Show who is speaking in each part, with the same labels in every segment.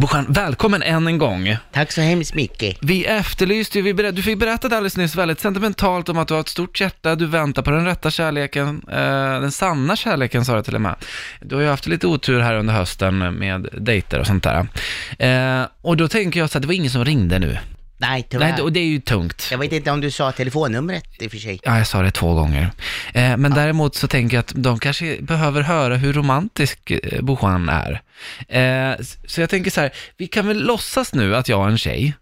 Speaker 1: Bouchan, välkommen än en gång.
Speaker 2: Tack så hemskt mycket.
Speaker 1: Vi efterlyste ju, vi ber- du fick berättade alldeles nyss väldigt sentimentalt om att du har ett stort hjärta, du väntar på den rätta kärleken, eh, den sanna kärleken sa du till och med. Du har ju haft lite otur här under hösten med dejter och sånt där. Eh, och då tänker jag så att det var ingen som ringde nu.
Speaker 2: Nej, tyvärr.
Speaker 1: Nej, och det är ju tungt.
Speaker 2: Jag vet inte om du sa telefonnumret i och för sig.
Speaker 1: Ja, jag sa det två gånger. Eh, men däremot så tänker jag att de kanske behöver höra hur romantisk eh, Bohan är. Eh, s- så jag tänker så här, vi kan väl låtsas nu att jag är en tjej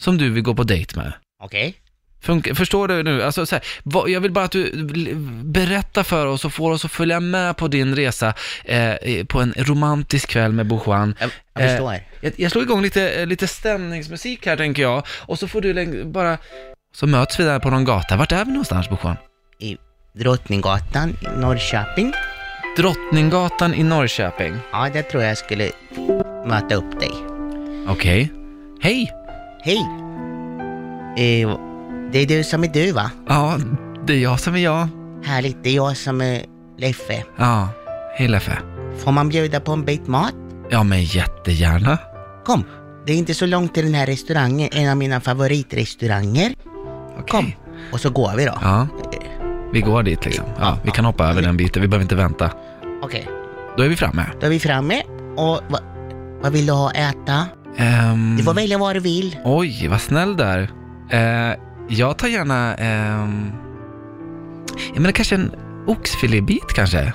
Speaker 1: som du vill gå på dejt med.
Speaker 2: Okej?
Speaker 1: Funkar, förstår du nu? Alltså, så här, vad, jag vill bara att du l- berättar för oss och får oss att följa med på din resa eh, eh, på en romantisk kväll med Bohan.
Speaker 2: Jag, jag förstår.
Speaker 1: Jag, jag slår igång lite, eh, lite stämningsmusik här tänker jag och så får du läng- bara... Så möts vi där på någon gata. Vart är vi någonstans Bohan?
Speaker 2: I Drottninggatan i Norrköping.
Speaker 1: Drottninggatan i Norrköping.
Speaker 2: Ja, där tror jag skulle möta upp dig.
Speaker 1: Okej. Hej!
Speaker 2: Hej! Eh, det är du som är du va?
Speaker 1: Ja, det är jag som är jag.
Speaker 2: Härligt, det är jag som är Leffe.
Speaker 1: Ja, hej Leffe.
Speaker 2: Får man bjuda på en bit mat?
Speaker 1: Ja, men jättegärna.
Speaker 2: Kom! Det är inte så långt till den här restaurangen, en av mina favoritrestauranger.
Speaker 1: Okej.
Speaker 2: Kom! Och så går vi då.
Speaker 1: Ja, vi går dit liksom. Ja, vi kan hoppa över den biten, vi behöver inte vänta.
Speaker 2: Okej,
Speaker 1: Då är vi framme.
Speaker 2: då är vi framme. Och va, vad vill du ha att äta?
Speaker 1: Ehm,
Speaker 2: Du får välja vad du vill.
Speaker 1: Oj, vad snäll där. Eh, jag tar gärna... ehm, jag menar kanske en oxfilébit kanske?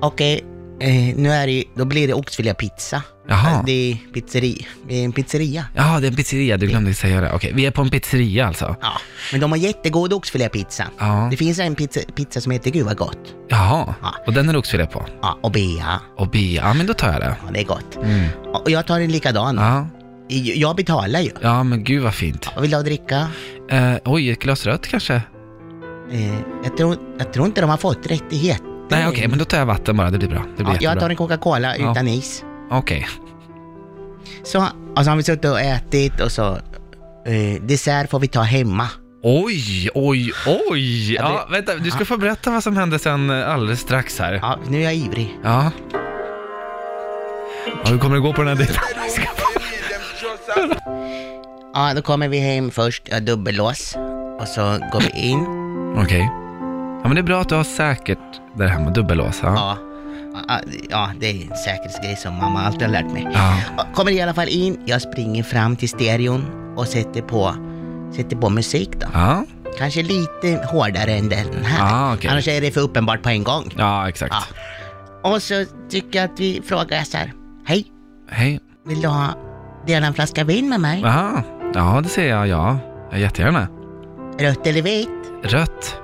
Speaker 2: Okej, eh, nu är det ju, då blir det oxfilépizza.
Speaker 1: Jaha.
Speaker 2: Det är pizzeri, det är en pizzeria.
Speaker 1: Ja, det är en pizzeria, du glömde säga det. Okej, vi är på en pizzeria alltså.
Speaker 2: Ja, men de har jättegod oxfilépizza.
Speaker 1: Ja.
Speaker 2: Det finns en pizza, pizza som heter Gud vad gott.
Speaker 1: Jaha,
Speaker 2: Ja.
Speaker 1: och den är det oxfilé på?
Speaker 2: Ja, och bea.
Speaker 1: Och bea, ja men då tar jag det.
Speaker 2: Ja, det är gott.
Speaker 1: Mm.
Speaker 2: Och jag tar en likadan.
Speaker 1: Ja,
Speaker 2: I- Jag betalar ju.
Speaker 1: ja men gud vad fint.
Speaker 2: Vad vill du ha att dricka?
Speaker 1: Eh, oj, ett glas rött kanske?
Speaker 2: Eh, jag, tror, jag tror inte de har fått rättighet.
Speaker 1: Nej okej, men då tar jag vatten bara, det blir bra. Det blir
Speaker 2: ja,
Speaker 1: jättebra.
Speaker 2: jag tar en Coca-Cola
Speaker 1: Ja.
Speaker 2: utan is.
Speaker 1: Okej,
Speaker 2: Så, och så har vi suttit och ätit och så... Eh, dessert får vi ta hemma.
Speaker 1: oj, oj, oj!
Speaker 2: Ja, det-
Speaker 1: Ja, vänta, du ska få berätta vad som hände sen eh, alldeles strax här.
Speaker 2: Ja, nu är jag ivrig.
Speaker 1: Ja. Ja, hur kommer det gå på den här dejten?
Speaker 2: Ja, då kommer vi hem först, ja, dubbellås. Och så går vi in.
Speaker 1: Okej. Ja men det är bra att du har säkert där hemma, dubbellås. Ja.
Speaker 2: Ja, ja, ja det är en säkerhetsgrej som mamma alltid har lärt mig.
Speaker 1: ja.
Speaker 2: Ja, Kommer i alla fall in, jag springer fram till stereon och sätter på, sätter på musik då.
Speaker 1: Ja,
Speaker 2: Kanske lite hårdare än den här.
Speaker 1: Ah, okej.
Speaker 2: Annars är det för uppenbart på en gång.
Speaker 1: ja exakt.
Speaker 2: Ja. Och så tycker jag att vi frågar så här. Hej,
Speaker 1: Hej.
Speaker 2: vill du ha, dela en flaska vin med mig?
Speaker 1: Aha. Ja, det ser jag, ja. ja. Jättegärna.
Speaker 2: Rött eller vitt?
Speaker 1: Rött.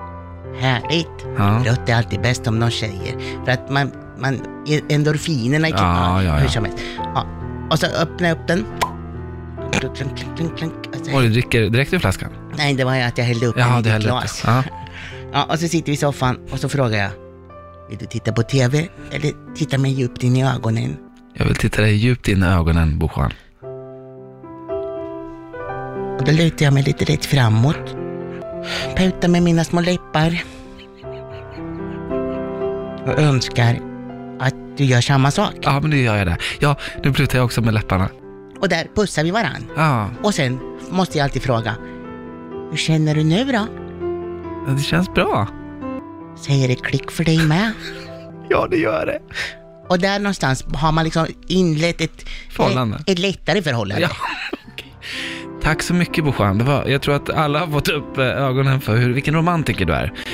Speaker 2: Härligt.
Speaker 1: Ja.
Speaker 2: Rött är alltid bäst om någon säger. För att man, man endorfinerna i
Speaker 1: Ja,
Speaker 2: kroppen.
Speaker 1: ja,
Speaker 2: Hur
Speaker 1: ja.
Speaker 2: som helst. Ja. Och så öppnar jag upp den. Klunk, klunk, klunk, klunk, klunk. Och så-
Speaker 1: Oj, du dricker direkt ur flaskan?
Speaker 2: Nej, det var ju att jag hällde upp
Speaker 1: Ja,
Speaker 2: den
Speaker 1: det
Speaker 2: i ett
Speaker 1: hällde upp
Speaker 2: glas.
Speaker 1: det. Ja.
Speaker 2: Ja, och så sitter vi i soffan och så frågar jag. Vill du titta på TV eller titta mig djupt in i ögonen?
Speaker 1: Jag vill titta dig djupt in i ögonen, Bojan.
Speaker 2: Och då lutar jag mig lite rätt framåt. Putar med mina små läppar. Och önskar att du gör samma sak.
Speaker 1: Ja, men nu gör jag det. Ja, nu plutar jag också med läpparna.
Speaker 2: Och där pussar vi varann.
Speaker 1: Ja,
Speaker 2: Och sen måste jag alltid fråga. Hur känner du nu då?
Speaker 1: det känns bra.
Speaker 2: Säger det klick för dig med?
Speaker 1: Ja, det gör det.
Speaker 2: Och där någonstans har man liksom inlett ett,
Speaker 1: Förhållande.
Speaker 2: ett, ett lättare förhållande.
Speaker 1: Ja. Tack så mycket Bojan. Det var, jag tror att alla har fått upp eh, ögonen för hur, vilken romantiker du är.